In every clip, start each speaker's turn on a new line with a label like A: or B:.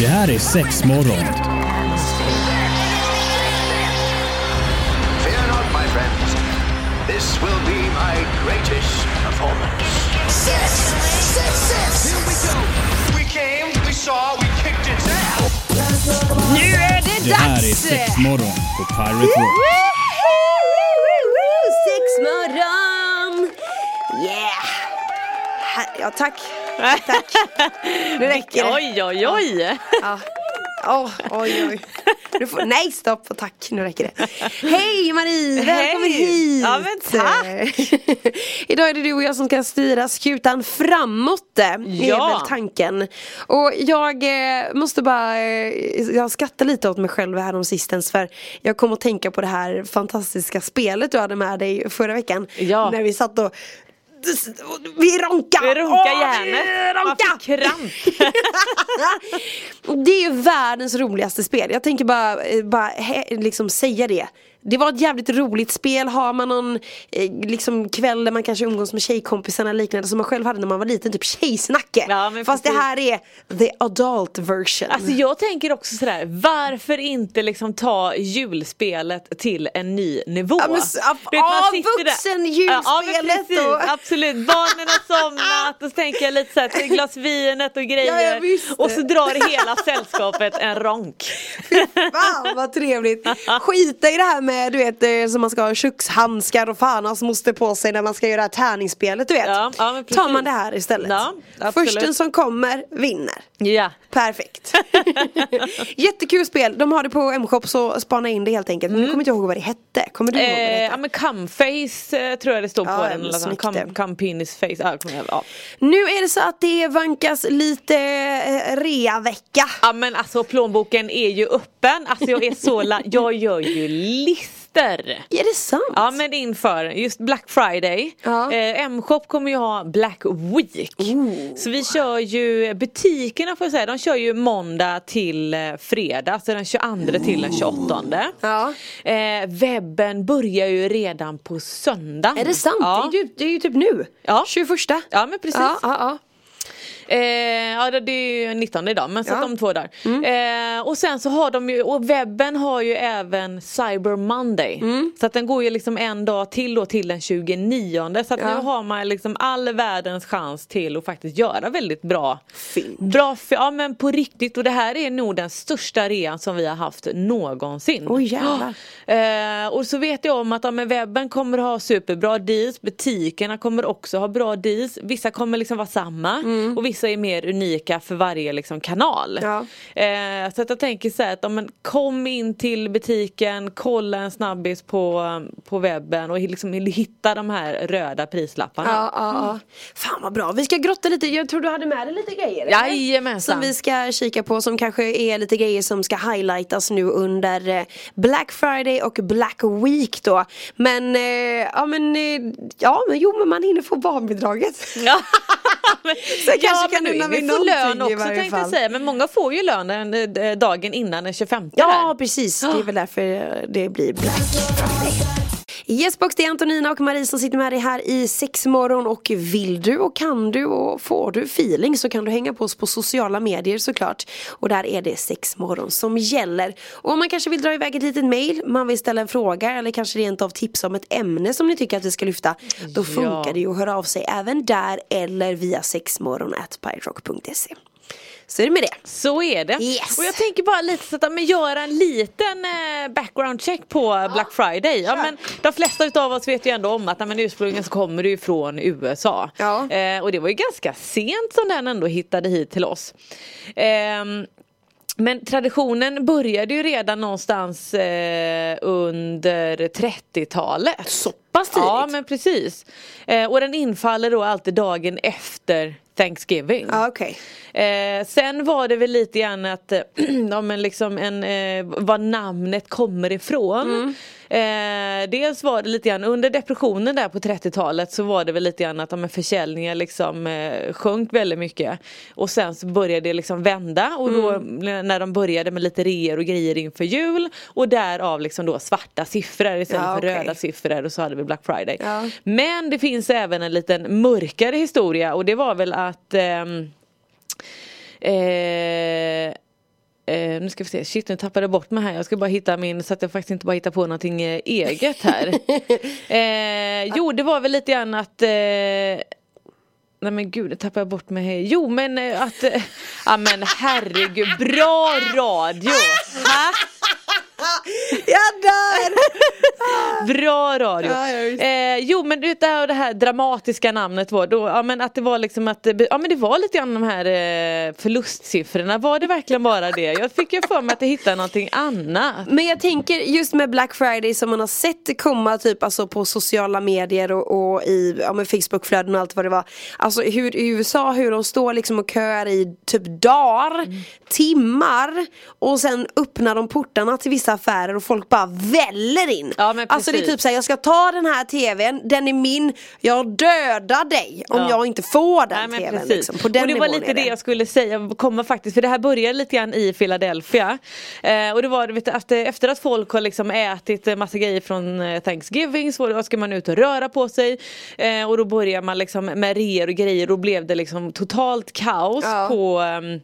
A: Det här är sex morgon.
B: Fear not, my friends. This will be my greatest performance.
C: Six, six, six.
B: We came, we saw, we kicked its ass.
C: Nu är det
A: Det här är
C: dags!
A: sex morgon på Pirate Rock.
D: Sexmorgon! Yeah! Här- Ja, tack. Tack. Nu räcker det.
E: Oj, oj, oj!
D: Ja. Ah. Åh, oj, oj. Nu får, nej, stopp och tack. Nu räcker det. Hej Marie! Välkommen
E: Hej.
D: hit!
E: Ja, men tack.
D: Idag är det du och jag som ska styra skutan framåt. Det
E: Ja.
D: är väl tanken. Och jag eh, måste bara, eh, jag skrattar lite åt mig själv här sistens för jag kom att tänka på det här fantastiska spelet du hade med dig förra veckan.
E: Ja.
D: När vi satt och vi ronkar!
E: Vi ronkar
D: Åh,
E: järnet.
D: vi
E: Man
D: ronkar!
E: fick kramp.
D: det är ju världens roligaste spel. Jag tänker bara, eh, bara he, liksom säga det. Det var ett jävligt roligt spel. Har man någon eh, liksom, kväll där man kanske umgås med tjejkompisarna eller liknande som man själv hade när man var liten, typ tjejsnacke.
E: Ja, men
D: Fast det
E: precis.
D: här är the adult version.
E: Alltså jag tänker också sådär, varför inte liksom ta julspelet till en ny nivå?
D: Ja, men s- ja,
E: Du vet, man
D: ja,
E: sitter där-
D: vuxenjulspelet
E: Ja, men precis,
D: och-
E: Absolut, barnen har somnat och så tänker jag lite såhär, ett glas vinet och
D: Ja, ja,
E: grejer.
D: visst.
E: och så drar hela sällskapet en ronk.
D: Fan vad trevligt! Skita i det här med du vet eh, som man ska ha kökshandskar och fan hans moster på sig när man ska göra det här tärningsspelet du vet.
E: Ja, ja, men precis.
D: Tar man det här istället.
E: Ja, absolut.
D: Försten som kommer vinner.
E: Ja.
D: Perfekt. Jättekul spel, de har det på M-shop så spana in det helt enkelt. Men nu kommer inte jag ihåg vad det hette. Kommer du ihåg vad det
E: Mm. Eh,
D: hette?
E: ja men comeface eh, tror jag det stod
D: Ja,
E: på
D: ja,
E: den.
D: men
E: eller så.
D: snyggt det.
E: Come, come penis face. Ja, kom igen, ja.
D: Nu är det så att det vankas lite eh, reavecka.
E: Ja men alltså plånboken är ju öppen, alltså jag är så la- jag gör ju lister.
D: Är det sant?
E: Ja men inför just Black Friday,
D: Ja.
E: eh, M-shop kommer ju ha Black Week.
D: Oh.
E: Så vi kör ju, butikerna får jag säga, de kör ju måndag till eh, fredag, så den 22 till den 28.
D: Ja.
E: Eh, webben börjar ju redan på söndag.
D: Är det sant?
E: Ja.
D: Det, är ju, det är ju typ nu.
E: Ja.
D: 21.
E: Ja, men precis.
D: Ja, ja, ja.
E: Eh, ja det- det är ju 19 idag men så
D: Ja. Mm.
E: att om två dagar. Eh, och sen så har de ju, och webben har ju även Cyber Monday.
D: Mm.
E: Så att den går ju liksom en dag till då till den 29 så att
D: Ja.
E: nu har man liksom all världens chans till att faktiskt göra väldigt bra
D: Fynd.
E: Bra, för, ja men på riktigt och det här är nog den största rean som vi har haft någonsin.
D: Oj, jävlar.
E: Ja. eh, och så vet jag om att ja, men webben kommer ha superbra deals, butikerna kommer också ha bra deals. Vissa kommer liksom vara samma och vissa är mer unika för varje liksom, kanal.
D: Mm. Ja.
E: Eh, så att jag tänker så här att ja, men kom in till butiken, kolla en snabbis på, på webben och liksom hitta de här röda prislapparna.
D: Ja, ja, ja. Mm. Fan vad bra, vi ska grotta lite, jag tror du hade med dig lite grejer eller?
E: Jajamensan.
D: Som vi ska kika på som kanske är lite grejer som ska highlightas nu under eh, Black Friday och Black Week då Men, eh, ja men, eh, ja men jo men man hinner få barnbidraget
E: Ja. Men-
D: Så kanske kan
E: men
D: unna mig
E: vi får
D: någonting
E: lön
D: i
E: också
D: varje
E: tänkte
D: fall.
E: jag säga. Men många får ju lönen eh, dagen innan den 25
D: Ja
E: där.
D: precis, det är väl därför det blir Black Friday Yes box, det är Antonina och Marie som sitter med dig här i sex morgon och vill du och kan du och får du feeling så kan du hänga på oss på sociala medier såklart och där är det sex morgon som gäller och om man kanske vill dra iväg ett litet mail, man vill ställa en fråga eller kanske rent av tipsa om ett ämne som ni tycker att vi ska lyfta då funkar det ju att höra av sig även där eller via sexmorgon at piraterock.se. Så är det med det.
E: Så är det.
D: Yes.
E: Och jag tänker bara lite så att ja, men göra en liten eh, background check på Black Friday. Ja, men de flesta utav oss vet ju ändå om att ja, men ursprungligen så kommer det ju från USA.
D: Ja.
E: Eh, och det var ju ganska sent som den ändå hittade hit till oss. Ehm, Men traditionen började ju redan någonstans eh, under 30-talet. Så
D: pass tidigt?
E: Ja men precis. Eh, och den infaller då alltid dagen efter Thanksgiving.
D: Ja okej.
E: Eh, sen var det väl lite grann att eh, ja, men liksom en, eh, var namnet kommer
D: Mm.
E: ifrån. Eh, dels var det lite grann under depressionen där på 30-talet så var det väl lite grann att ja, men försäljningen liksom eh, sjönk väldigt mycket. Och sen så började det liksom vända och då
D: Mm.
E: n- när de började med lite reor och grejer inför jul och därav liksom då svarta siffror istället
D: Ja,
E: för
D: okej.
E: röda siffror och så hade vi Black Friday.
D: Ja.
E: Men det finns även en liten mörkare historia och det var väl att ehm, Eh, Eh, nu ska vi se, shit nu tappade jag bort mig här. Jag ska bara hitta min, så att jag faktiskt inte bara hittar på någonting eh, eget här. eh, jo det var väl lite grann att eh, Nej men gud, nu tappade jag bort mig. här. Jo men eh, att... eh, Ja men herregud, bra radio! Ha?
D: Jag dör!
E: Bra radio!
D: Ja, ja, visst.
E: eh, jo men det här, det här dramatiska namnet var då, ja men att det var liksom att, eh, ja men det var lite grann de här eh, förlustsiffrorna, var det verkligen bara det? Jag fick ju för mig att jag hittade någonting annat.
D: Men jag tänker just med Black Friday som man har sett komma typ alltså på sociala medier och, och i ja, men Facebookflöden och allt vad det var. Alltså hur i USA hur de står liksom och köar i typ dagar,
E: Mm.
D: timmar och sen öppnar de portarna till vissa affärer och folk bara väller in.
E: Ja, men
D: alltså det är
E: precis.
D: typ såhär, jag ska ta den här tvn, den är min, jag dödar dig om
E: Ja.
D: jag inte får
E: Nej,
D: den
E: men
D: tvn.
E: precis.
D: Liksom. På den
E: och det var
D: nivån
E: lite
D: är
E: det jag skulle säga, komma faktiskt, för det här började lite grann i Philadelphia. Eh, och det var du vet, att eh, efter att folk har liksom ätit eh, massa grejer från eh, Thanksgiving så var det, "Vad ska man ut och röra på sig. Eh, och då börjar man liksom med reor och grejer och blev det liksom totalt kaos
D: Ja.
E: på ehm,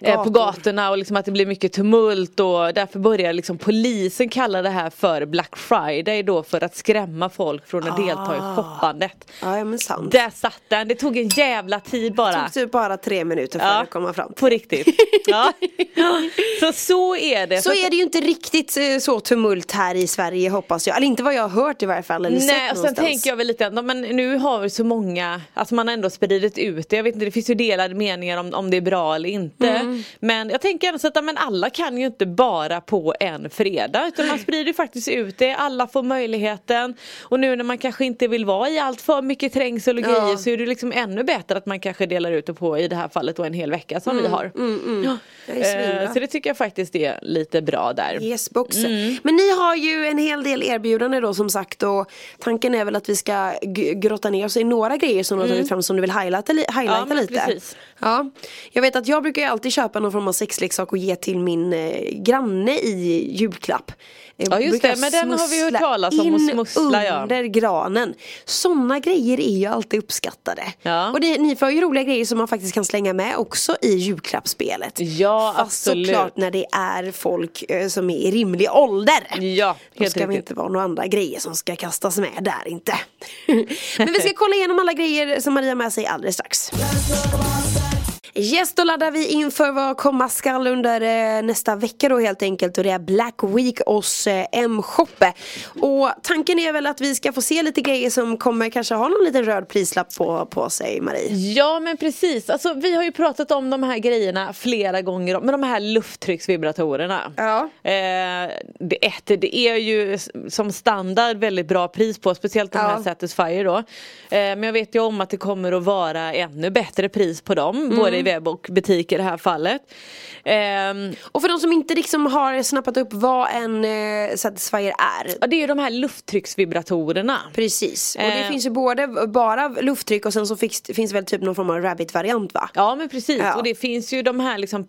E: eh, på
D: Gator.
E: gatorna och liksom att det blir mycket tumult och därför börjar liksom polisen kalla det här för Black Friday då för att skrämma folk från att delta
D: Ah.
E: i shoppandet.
D: Ja, ja men sant.
E: Där satt den, det tog en jävla tid
D: Det
E: bara.
D: tog typ bara tre minuter för
E: Ja,
D: att komma fram till.
E: På riktigt. Ja. Så så är det.
D: Så är det ju inte riktigt eh, så tumult här i Sverige hoppas jag. Eller inte vad jag har hört i varje fall. Eller
E: Nej,
D: sett
E: och sen
D: någonstans.
E: tänker jag väl lite att ja, men nu har vi så många, alltså man har ändå spridit ut det. Jag vet inte, det finns ju delade meningar om, om det är bra eller inte.
D: Mm.
E: Men jag tänker ändå så att ja, men alla kan ju inte bara på en fredag. Utan man sprider ju faktiskt ut det, alla får möjligheten. Och nu när man kanske inte vill vara i allt för mycket trängsel och grejer så är det liksom ännu bättre att man kanske delar ut det på i det här fallet då en hel vecka som
D: Mm,
E: vi har. Ja.
D: Det är svinbra.
E: Eh, Så det tycker jag faktiskt är lite bra där.
D: Yes, boxen.
E: Mm.
D: Men ni har ju en hel del erbjudanden då som sagt och tanken är väl att vi ska g- grotta ner oss i några grejer som du har tagit fram som du vill highlighta, li- highlighta
E: Mm. Ja, men
D: lite.
E: precis.
D: Ja, jag vet att jag brukar ju alltid köpa någon form av sexleksak och ge till min eh, granne i julklapp. Eh,
E: Ja, just
D: brukar
E: det, men den har vi hört
D: smussla
E: talas om och
D: in
E: smussla, ja.
D: under granen. Sådana grejer är ju alltid uppskattade.
E: Ja.
D: Och det, ni får ju roliga grejer som man faktiskt kan slänga med också i julklappsspelet.
E: Ja,
D: Fast
E: absolut.
D: såklart när det är folk eh, som är i rimlig ålder.
E: Ja,
D: Då
E: helt
D: ska vi
E: riktigt.
D: inte vara några andra grejer som ska kastas med där inte. Men vi ska kolla igenom alla grejer som Maria har med sig alldeles strax. Yes, då laddar vi inför vad komma skall under eh, nästa vecka då helt enkelt och det är Black Week hos eh, M-shoppe. Och tanken är väl att vi ska få se lite grejer som kommer kanske ha någon liten röd prislapp på, på sig Marie.
E: Ja men precis, alltså, vi har ju pratat om de här grejerna flera gånger om- men de här lufttrycksvibratorerna.
D: Ja.
E: Eh, det, ett, det är ju s- som standard väldigt bra pris på, speciellt de
D: Ja.
E: här Satisfyer då. Eh, men jag vet ju om att det kommer att vara ännu bättre pris på dem,
D: Mm.
E: både i webb och butik i det här fallet. Ehm,
D: Och för de som inte liksom har snappat upp vad en eh, Satisfyer är.
E: ja, det är ju de här lufttrycksvibratorerna.
D: Precis, och det
E: Eh.
D: finns ju både bara lufttryck och sen så finns, finns väl typ någon form av rabbit-variant va?
E: Ja men precis
D: Ja.
E: och det finns ju de här liksom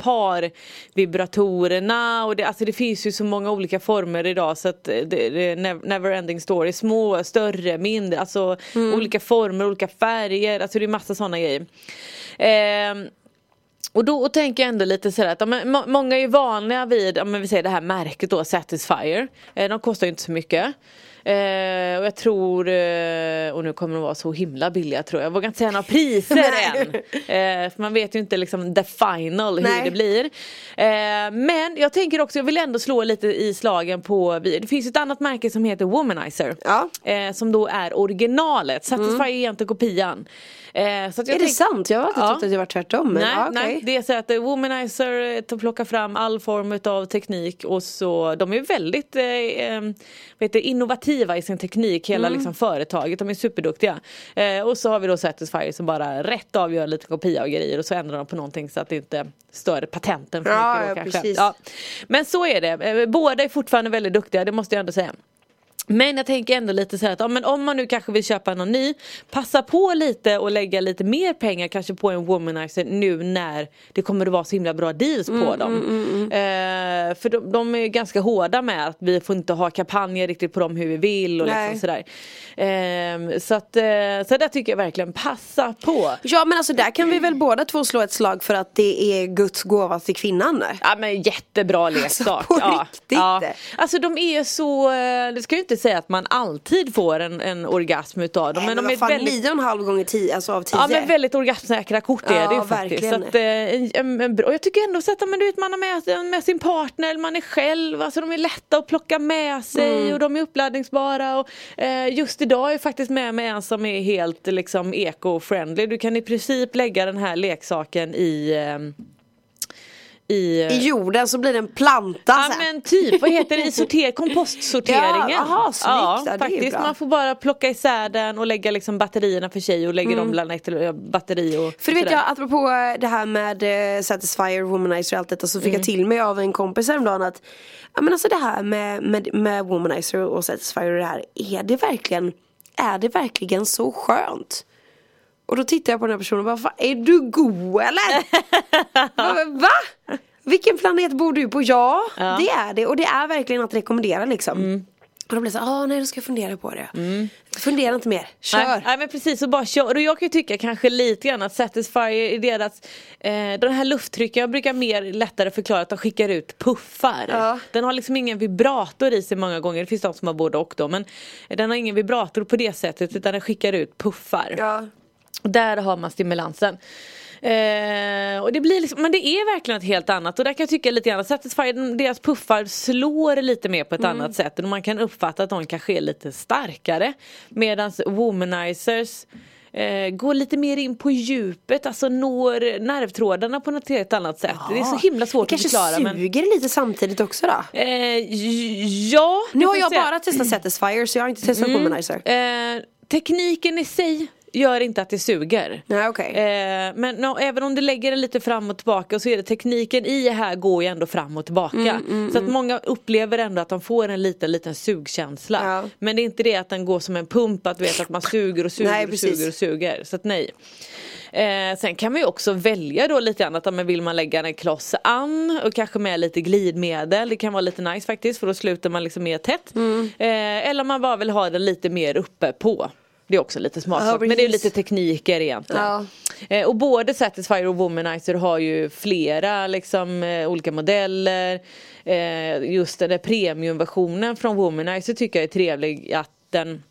E: parvibratorerna och det, alltså det finns ju så många olika former idag så att eh, det, det är nev- never ending story. Små, större, mindre, alltså
D: Mm.
E: olika former, olika färger, alltså det är massa sådana grejer. Ehm, och då och tänker jag ändå lite sådär att ja, men, må, många är ju vana vid, ja, men vi säger det här märket då, Satisfyer. Eh, de kostar ju inte så mycket. Eh, och jag tror, eh, och nu kommer de vara så himla billiga tror jag. Jag vågar inte säga några priser
D: Nej.
E: än. Eh, för man vet ju inte liksom the final
D: Nej.
E: hur det blir. Eh, men jag tänker också, jag vill ändå slå lite i slagen på, vi- det finns ju ett annat märke som heter Womanizer.
D: Ja. Mm.
E: Eh, som då är originalet, Satisfyer är egentligen kopian. Eh, så att jag
D: är det
E: tänk-
D: sant? Jag har alltid
E: Ja.
D: trott att det var tvärtom. Men,
E: Nej,
D: ja, okej.
E: nej, det är så att eh, Womanizer eh, tar- plockar fram all form av teknik och så de är väldigt eh, eh, vet du, innovativa i sin teknik,
D: Mm.
E: hela liksom, företaget, de är superduktiga. Eh, och så har vi då Satisfyer som bara rätt av gör lite kopia och grejer och så ändrar de på någonting så att det inte stör patenten för
D: Ja,
E: mycket. Då,
D: ja,
E: kanske.
D: precis.
E: Ja. Men så är det, Eh, båda är fortfarande väldigt duktiga, det måste jag ändå säga. Men jag tänker ändå lite så här att ja, men om man nu kanske vill köpa någon ny Passa på lite och lägga lite mer pengar kanske på en womanizer nu när det kommer att vara så himla bra deals på
D: Mm,
E: dem. Eh, för de, de är ju ganska hårda med att vi får inte ha kampanjer riktigt på dem hur vi vill och
D: Nej.
E: liksom sådär. Eh, så att, eh, så där tycker jag verkligen passa på.
D: Ja men alltså där kan vi väl båda två slå ett slag för att det är Guds gåva till kvinnan.
E: Ja men jättebra leksak.
D: Alltså, på
E: ja.
D: riktigt.
E: Ja. Alltså de är så, eh, det ska ju inte säga att man alltid får en, en orgasm utav dem. Men, de är
D: vad fan,
E: väldigt
D: nio och en halv gånger tio, alltså av tio.
E: Ja men väldigt orgasmsäkra kort är
D: Ja,
E: det ju faktiskt. Så
D: verkligen.
E: att, eh, en, en, en, bra- och jag tycker ändå så att ja, men du vet, man har med, sig- med sin partner, man är själv, alltså de är lätta att plocka med sig
D: Mm.
E: och de är uppladdningsbara. Och, eh, just idag är jag faktiskt med mig en som är helt liksom eco-friendly. Du kan i princip lägga den här leksaken i eh, i, eh,
D: I jorden så blir det en planta
E: Ja
D: sen.
E: men typ, vad heter det, i sorter, kompostsorteringen.
D: Alltså, Ja, aha, snyggt. Ja, det är
E: faktiskt.
D: bra.
E: Man får bara plocka isär den och lägga liksom batterierna för sig och lägga dem bland ett eh, batteri och
D: Mm. För det vet
E: sådär.
D: jag, apropå det här med eh, Satisfyer, Womanizer och allt detta så fick
E: Mm.
D: jag till mig av en kompis häromdagen att ja, men alltså det här med, med, med Womanizer och Satisfyer och det här, är det verkligen, är det verkligen så skönt? Och då tittar jag på den här personen och bara, "Fan, är du go eller? Jag bara, Va? Vilken planet bor du på? Ja, det är det och det är verkligen att rekommendera liksom.
E: Mm.
D: Och då blir det så, ah, nej då ska jag fundera på det. Fundera inte mer, kör.
E: Nej, nej men precis, och bara kör. Och jag kan ju tycka kanske lite grann att Satisfyer i deras, eh, den här lufttrycken, jag brukar mer lättare förklara att de skickar ut puffar.
D: Ja.
E: Den har liksom ingen vibrator i sig många gånger, det finns de som har både och då men den har ingen vibrator på det sättet utan den skickar ut puffar.
D: Ja.
E: Och Där har man stimulansen. Eh, och det blir liksom, men det är verkligen ett helt annat och där kan jag tycka lite grann att Satisfyer, de- deras puffar slår lite mer på
D: Mm.
E: ett annat sätt och man kan uppfatta att de kanske är lite starkare. Medan womanizers eh, går lite mer in på djupet, alltså når nervtrådarna på något helt annat sätt. Det är så himla svårt
D: det
E: att förklara.
D: kanske
E: Men,
D: suger lite samtidigt också då.
E: eh, j- ja, det
D: Nu
E: får
D: har
E: vi
D: jag
E: se. Mm.
D: bara testat Satisfyer så jag har inte testat Womanizer.
E: Eh, tekniken i sig gör inte att det suger.
D: Nej, okej.
E: Eh, men no, även om du lägger den lite fram och tillbaka så är det tekniken i här går ju ändå fram och tillbaka.
D: Mm,
E: så att många upplever ändå att de får en liten liten sugkänsla.
D: Ja.
E: Men det är inte det att den går som en pump att, du vet, att man suger och suger
D: Nej,
E: och
D: precis.
E: suger och suger. Så att nej. Eh, sen kan man ju också välja då lite annat, men vill man lägga en kloss an och kanske med lite glidmedel. Det kan vara lite nice faktiskt för då sluter man liksom mer tätt.
D: Mm.
E: Eh, eller om man bara vill ha den lite mer uppe på. Det är också lite smart
D: Ja,
E: sak, men det är ju
D: precis.
E: lite tekniker egentligen.
D: Ja.
E: Eh, och både Satisfyer och Womanizer har ju flera liksom, eh, olika modeller. Eh, just den där premiumversionen från Womanizer tycker jag är trevlig att den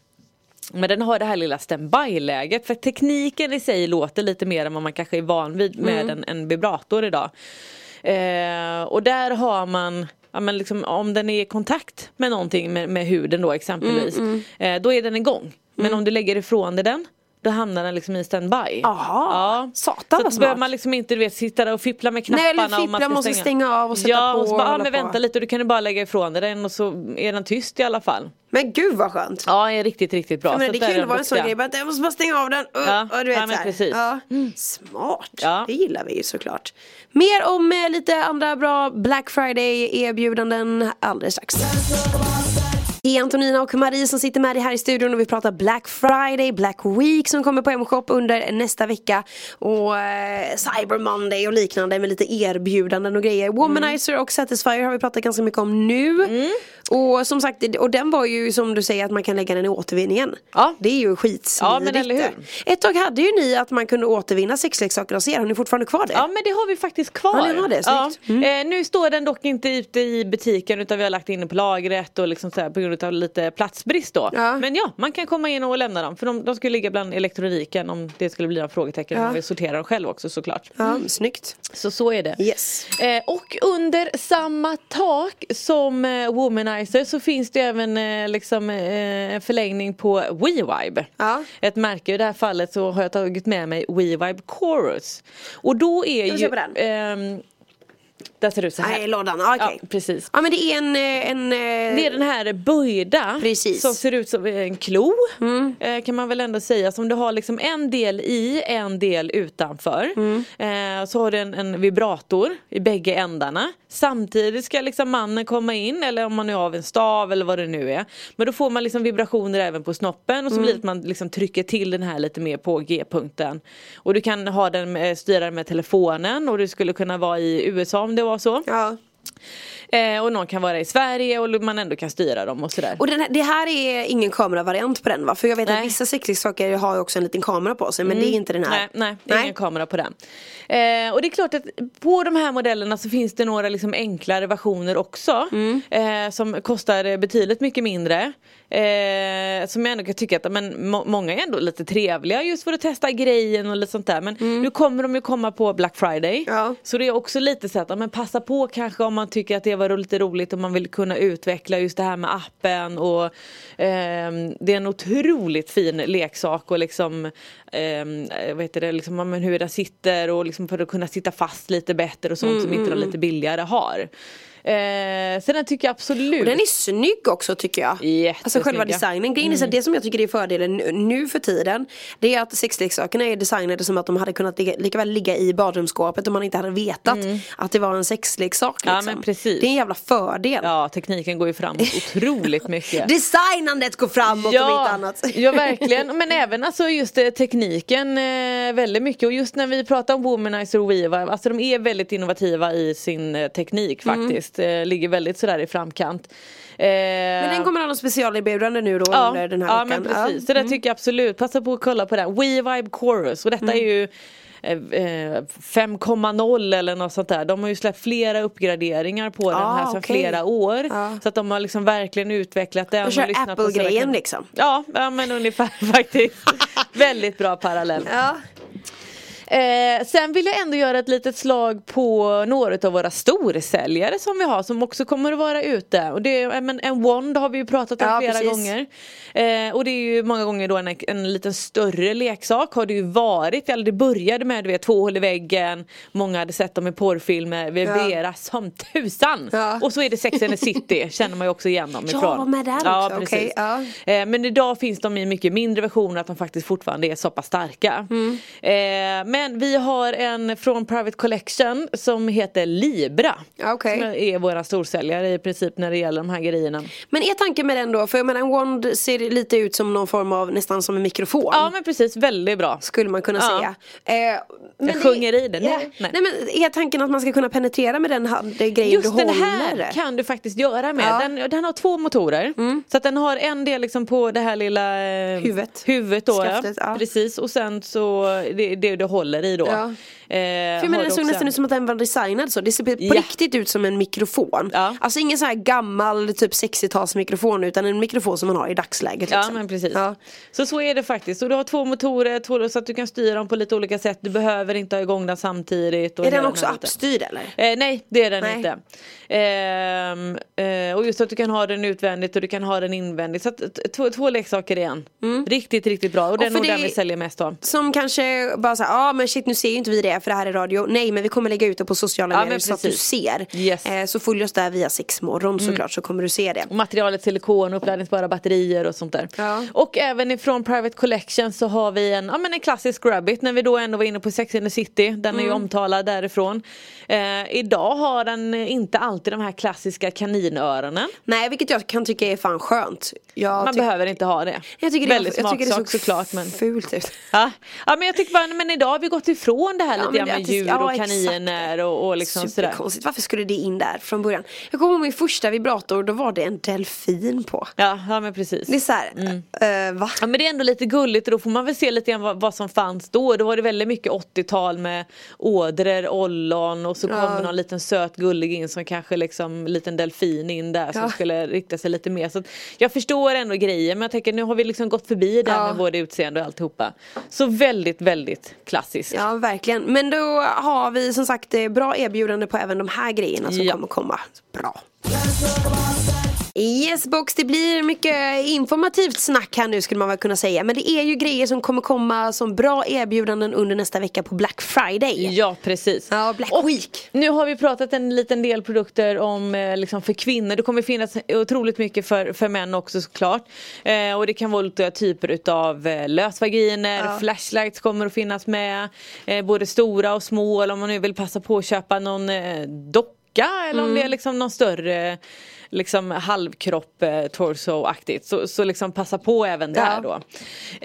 E: men den har det här lilla standby-läget för tekniken i sig låter lite mer än vad man kanske är van vid med
D: Mm.
E: en, en vibrator idag. Eh, och där har man Ja, men liksom, om den är i kontakt med någonting med, med huden då exempelvis
D: Mm,
E: Eh, Då är den igång Men om du lägger ifrån dig den Då hamnar den liksom i standby
D: Aha. Satan, Ah, vad
E: Så att
D: smart.
E: behöver man liksom inte du vet, sitta där och fippla med
D: Nej,
E: knapparna
D: eller
E: om man
D: fippla, måste stänga av och sätta
E: ja,
D: på
E: och så
D: och
E: bara, ja
D: hålla
E: men
D: på.
E: vänta lite och du kan ju bara lägga ifrån dig den och så är den tyst i alla fall
D: Men gud vad skönt.
E: Ja, det är riktigt riktigt bra
D: Ja,
E: Så
D: men det
E: att där
D: kan ju
E: är de
D: vara en sån
E: duktiga.
D: grej, bara, att jag måste bara stänga av den. Uh,
E: Ja,
D: och du vet,
E: ja,
D: så
E: men
D: här.
E: precis. Mm.
D: Ja. Smart,
E: Ja.
D: det gillar vi ju såklart. Mer om eh, lite andra bra Black Friday erbjudanden alldeles strax. Det är Antonina och Marie som sitter med dig här i studion och vi pratar Black Friday, Black Week som kommer på M-shop under nästa vecka och eh, Cyber Monday och liknande med lite erbjudanden och grejer. Womanizer och Satisfyer har vi pratat ganska mycket om nu.
E: Mm.
D: Och som sagt, och den var ju som du säger att man kan lägga den i återvinningen.
E: Ja.
D: Det är ju skitsmidigt.
E: Ja, men eller hur?
D: Ett tag hade ju ni att man kunde återvinna sexleksaker hos er, har ni fortfarande kvar det?
E: Ja men det har vi faktiskt kvar.
D: Ja, ni har det, snyggt. Mm.
E: Ja. Eh, nu står den dock inte ute i butiken utan vi har lagt in den på lagret och liksom så här, på grund av lite platsbrist då.
D: Ja.
E: Men ja, man kan komma in och lämna dem för de, de skulle ligga bland elektroniken om det skulle bli några frågetecken. Man vill sortera dem själv också såklart.
D: Ja, snyggt.
E: Så så är det.
D: Yes.
E: Eh, och under samma tak som eh, Womanizer så finns det även eh, liksom, eh, en förlängning på WeVibe.
D: Ja.
E: Ett märke, i det här fallet så har jag tagit med mig WeVibe Chorus. Och då är
D: Ska vi
E: ju...
D: köpa den?
E: ehm, Där ser det ut så här.
D: Nej, lådan. Ah, okej.
E: Ja, precis.
D: Ja men det är en, eh, en eh,
E: Det är den här böjda
D: Precis.
E: som ser ut som en klo eh, kan man väl ändå säga som du har liksom en del i, en del utanför. Eh, så har du en, en vibrator i bägge ändarna. Samtidigt ska liksom mannen komma in eller om man nu har en stav eller vad det nu är. Men då får man liksom vibrationer även på snoppen och så blir det att man liksom trycker till den här lite mer på G-punkten. Och du kan ha den, eh, styra den med telefonen och du skulle kunna vara i USA om det var så.
D: ja.
E: Eh, och någon kan vara i Sverige och man ändå kan styra dem och sådär.
D: Och den här, det här är ingen kameravariant på den va? För jag vet att
E: Nej. Mm.
D: vissa sexleksaker har ju också en liten kamera på sig men det är inte den här.
E: Nej, nej, det är ingen kamera på den. Eh, och det är klart att på de här modellerna så finns det några liksom enklare versioner också.
D: Mm.
E: Eh, som kostar betydligt mycket mindre. Eh, som jag ändå kan tycka att men, må- många är ändå lite trevliga just för att testa grejen och lite sånt där. Men nu kommer de ju komma på Black Friday.
D: Mm. Ja.
E: Så det är också lite så att ja, men passa på kanske om man tycker att det var lite roligt och man vill kunna utveckla just det här med appen och ehm, det är en otroligt fin leksak och liksom ehm, vad heter det, liksom, ja, men hur den sitter och liksom för att kunna sitta fast lite bättre och sånt
D: Mm,
E: som inte de lite billigare har. Eh, så den tycker jag absolut
D: Och den är snygg också tycker jag. Alltså själva
E: Jättesnygga. Mm.
D: designen. Grejen är så att det som jag tycker är fördelen nu- nu för tiden. Det är att sexleksakerna är designade som att de hade kunnat ligga, lika väl ligga i badrumsskåpet om man inte hade vetat att det var en sexleksak.
E: Mm. Ja,
D: Liksom.
E: men precis.
D: Det är en jävla fördel.
E: Ja tekniken går ju framåt otroligt mycket.
D: Designandet går framåt om inte annat.
E: ja verkligen. Men även alltså just eh, tekniken eh, väldigt mycket. Och just när vi pratar om Womanizer och Weaver, alltså de är väldigt innovativa i sin eh, teknik
D: Mm.
E: faktiskt. Eh, ligger väldigt sådär i framkant. Eh,
D: Men den kommer ha något specialerbjudande nu då under den här
E: ja,
D: veckan. Mm.
E: men precis. Så det tycker jag absolut. Passa på att kolla på den. WeVibe Chorus och detta är
D: Mm.
E: ju eh, eh, 5,0 eller något sånt där. De har ju släppt flera uppgraderingar på den
D: Ah,
E: här sedan
D: okej.
E: flera år.
D: Ja.
E: Så att de har liksom verkligen utvecklat den.
D: Och kör
E: lyssnat på
D: Apple-grejen
E: sådana-
D: liksom.
E: Ja, ja men ungefär faktiskt. Väldigt bra parallell.
D: Ja.
E: Eh, sen vill jag ändå göra ett litet slag på några av våra storsäljare som vi har som också kommer att vara ute. Och det är, ja, men, en Wand har vi ju pratat om
D: Ja,
E: flera
D: precis.
E: gånger. Eh, och det är ju många gånger då en, en liten större leksak har det ju varit. Eller det började med du vet, två hål i väggen, många hade sett dem i porrfilmer, Vivera som tusan!
D: Ja.
E: Och så är det Sex and the City, känner man ju också igen dem
D: Ja,
E: ifrån.
D: var med där
E: ja,
D: också.
E: Precis.
D: Okej, ja.
E: Eh, Men idag finns de i mycket mindre versioner att de faktiskt fortfarande är så pass starka.
D: Mm.
E: Eh, Men vi har en från Private Collection som heter Libra.
D: Ja, okej.
E: Som är våra storsäljare i princip när det gäller de här grejerna.
D: Men är tanken med den då, för jag menar en wand ser lite ut som någon form av, nästan som en mikrofon.
E: Ja men precis, väldigt bra.
D: Mm. Skulle man kunna
E: Ja.
D: säga. Eh, men det-
E: sjunger i den.
D: Ja.
E: Nej, nej.
D: Nej. men är tanken att man ska kunna penetrera med den hand, det grejen
E: Just
D: du
E: den
D: håller?
E: här kan du faktiskt göra med.
D: Ja. Mm.
E: Den, den har två motorer. Så att den har en del liksom på det här lilla eh,
D: Huvudet.
E: huvudet då, ja.
D: Skaftet, ja.
E: Precis och sen så det, det du håller i då.
D: Ja.
E: Eh,
D: För jag menar,
E: har
D: den
E: du
D: såg
E: också-
D: nästan ut som att den var designad så. Det ser på
E: Ja.
D: riktigt ut som en mikrofon.
E: Ja.
D: Alltså ingen sån här gammal typ 60-talsmikrofon utan en mikrofon som man har i dagsläget.
E: Ja
D: liksom.
E: men precis.
D: Ja.
E: Så så är det faktiskt. Och du har två motorer två, så att du kan styra dem på lite olika sätt. Du behöver inte ha igång den samtidigt. Och
D: Är den
E: hela
D: också
E: här biten.
D: appstyrd eller?
E: Eh, nej det är den
D: Nej.
E: inte. Ehm, eh, och just att du kan ha den utvändigt och du kan ha den invändigt. Så att, t- två, två leksaker i en. Riktigt riktigt bra. Och den är
D: Mm. för
E: nog
D: det-
E: den vi säljer mest av.
D: Som kanske bara såhär, ja ah, men shit nu ser ju inte vi det för det här är radio. Nej men vi kommer lägga ut det på sociala
E: Ja,
D: medier
E: men
D: så att du
E: precis.
D: ser.
E: Yes. Mm.
D: Eh, så följ oss där via sexmorgon såklart så kommer du se det.
E: Och materialet silikon, uppladdningsbara batterier och sånt där.
D: Ja.
E: Och även ifrån Private Collection så har vi en, ja, men en klassisk Rabbit när vi då ändå var inne på Sex and the City. Den är ju
D: Mm.
E: omtalad därifrån. Eh, idag har den inte alltid de här klassiska kaninöronen.
D: Nej vilket jag kan tycka är fan skönt. Jag
E: Man
D: tyck-
E: behöver inte ha det.
D: jag tycker det,
E: Väldigt
D: jag tycker det
E: smaksak
D: såg
E: såklart. Men...
D: fult ut.
E: Ja. ja men jag tycker bara, men idag har vi gått ifrån det här
D: Ja,
E: lite
D: men
E: grann
D: det-
E: med djur
D: ja,
E: och
D: exakt.
E: kaniner och, och liksom sådär.
D: Superkonstigt, varför skulle det in där från början? Jag kommer ihåg min första vibrator, då var det en delfin på.
E: Ja, ja men precis.
D: Det är såhär,
E: Mm.
D: eh, va?
E: Ja men det är ändå lite gulligt och då får man väl se lite grann vad, vad som fanns då. Då var det väldigt mycket 80-tal med ådror, ollon och så kommer någon liten söt gullig in som kanske liksom liten delfin in där som
D: Ja.
E: skulle rikta sig lite mer. Så att jag förstår ändå grejen men jag tänker nu har vi liksom gått förbi det här
D: Ja.
E: med både utseende och alltihopa. Så väldigt väldigt klassiskt.
D: Ja verkligen, men då har vi som sagt eh, bra erbjudande på även de här grejerna som
E: Ja.
D: kommer komma. Bra. Yes box, det blir mycket informativt snack här nu skulle man väl kunna säga. Men det är ju grejer som kommer komma som bra erbjudanden under nästa vecka på Black Friday.
E: Ja precis.
D: Ja, Black
E: Och
D: Week.
E: Nu har vi pratat en liten del produkter om eh, liksom för kvinnor. Det kommer finnas otroligt mycket för, för män också såklart. Eh, och det kan vara olika typer utav eh, lösvaginer, flashlights kommer att finnas med. Eh, både stora och små eller om man nu vill passa på att köpa någon eh, docka eller om det är liksom någon större liksom halvkropp eh, torso-aktigt så, så liksom passa på även där
D: Ja.
E: då.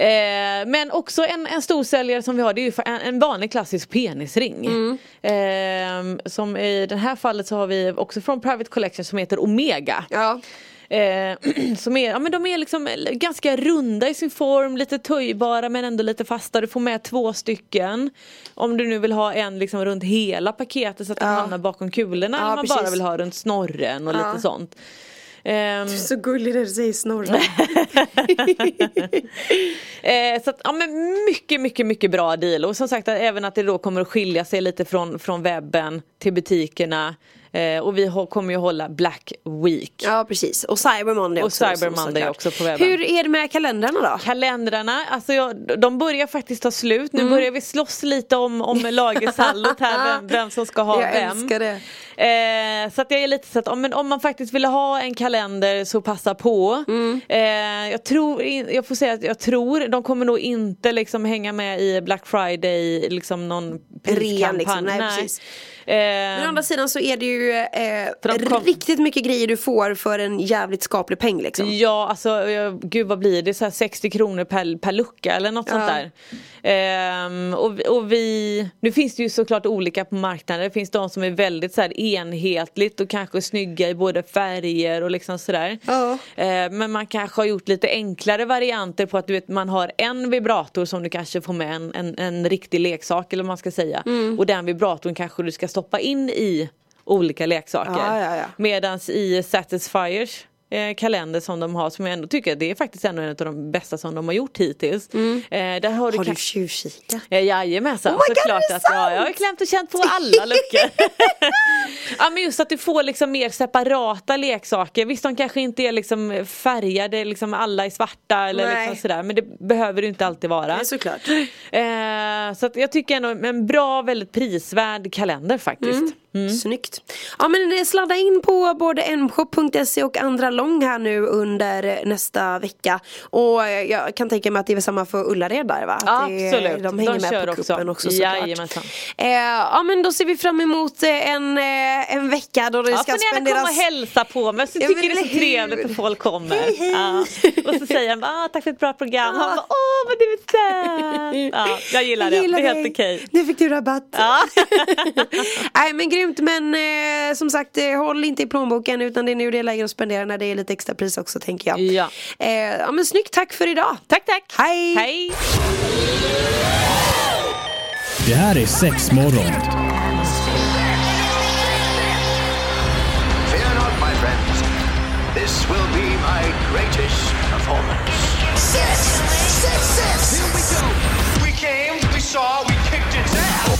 E: Eh, men också en, en stor säljare som vi har det är ju fa- en, en vanlig klassisk penisring.
D: Mm.
E: Eh, som i det här fallet så har vi också från Private Collection som heter Omega.
D: Ja.
E: Eh, som är, ja, men de är liksom ganska runda i sin form, lite töjbara men ändå lite fasta. Du får med två stycken. Om du nu vill ha en liksom runt hela paketet så att den
D: Ja.
E: hamnar bakom kulorna.
D: Ja,
E: eller om man bara
D: precis.
E: vill ha runt snorren och
D: Ja.
E: lite sånt. Ehm,
D: Så gullig när du säger snorren.
E: Eh, så att, ja, men mycket, mycket, mycket bra deal. Och som sagt att även att det då kommer att skilja sig lite från, från webben till butikerna. Eh, och vi har, kommer ju hålla Black Week.
D: ja precis. Och Cyber Monday
E: Och
D: också.
E: Cyber
D: så-
E: Monday
D: såklart.
E: också på webben.
D: Hur är det med kalendrarna då?
E: Kalendrarna, alltså jag, de börjar faktiskt ta slut. Nu
D: Mm.
E: börjar vi slåss lite om, om lagersallot här, vem, vem som ska ha
D: Jag
E: vem.
D: älskar det.
E: Eh, så att jag är lite så att om, men om man faktiskt vill ha en kalender så passa på.
D: Mm.
E: Eh, jag, tror, in- jag får säga att jag tror, de kommer nog inte liksom hänga med i Black Friday, liksom någon priskampanj.
D: liksom, nej, precis.
E: Eh,
D: Men å andra sidan så är det ju
E: För de kom-
D: eh, riktigt mycket grejer du får för en jävligt skaplig peng liksom.
E: Ja, alltså eh, gud vad blir det? Så här 60 kronor per, per lucka eller något sånt
D: Ja.
E: där. Ehm, och, vi- och vi, nu finns det ju såklart olika på marknaden. Det finns de som är väldigt så här enhetligt och kanske snygga i både färger och liksom sådär.
D: Ja.
E: Ehm, men man kanske har gjort lite enklare varianter på att du vet, man har en vibrator som du kanske får med en, en, en riktig leksak eller vad man ska säga.
D: Mm.
E: Och den vibratorn kanske du ska stoppa in i olika leksaker.
D: Ja, ja, ja.
E: Medan i Satisfiers eh, kalender som de har som jag ändå tycker det är faktiskt en av de bästa som de har gjort hittills. Eh, där har du,
D: Mm. Har du
E: kanske-
D: tjuvkikat?
E: Ja, Jajamensan,
D: Oh my God,
E: såklart
D: är det
E: att jag,
D: sant?
E: jag har klämt och känt på alla luckor. ja men just att du får liksom mer separata leksaker. Visst de kanske inte är liksom färgade, liksom alla är svarta eller
D: Nej.
E: liksom sådär. Men det behöver det inte alltid vara.
D: Nej, såklart.
E: Eh, så att jag tycker ändå en bra, väldigt prisvärd kalender faktiskt.
D: Mm. Snyggt. Ja men eh, sladda in på både mshop.se och andra lång här nu under eh, nästa vecka. Och eh, jag kan tänka mig att det är väl samma för Ullared där va? Att det-
E: Absolut.
D: De hänger
E: De
D: med
E: kör
D: på
E: också.
D: kuppen också, såklart.
E: Jajamensan.
D: Eh, ja men då ser vi fram emot eh, en, eh, en vecka då det
E: Ja,
D: ska
E: får ni gärna komma
D: spenderas
E: och hälsa på mig. Så
D: Ja,
E: tycker
D: men
E: det är så
D: eller
E: trevligt
D: hur?
E: att folk kommer.
D: Hej, hej.
E: Ja. Och så säger han ah, tack för ett bra program. Han bara, åh vad du är söt. Ja, jag gillar det. det är helt
D: dig.
E: okej.
D: Nu fick du rabatt.
E: Ja.
D: Nej men grymt men eh, som sagt eh, håll inte i plånboken utan det är nu det är läge att spendera när det är lite extra pris också tänker jag.
E: Ja.
D: Eh, ja men snyggt, tack för idag.
E: Tack tack.
D: Hej.
E: Hej.
A: Det här är sex morgon.
B: Fear not, my friends. This will be my greatest performance.
C: Six, six, six. Here we go.
B: We came, we saw, we kicked its ass.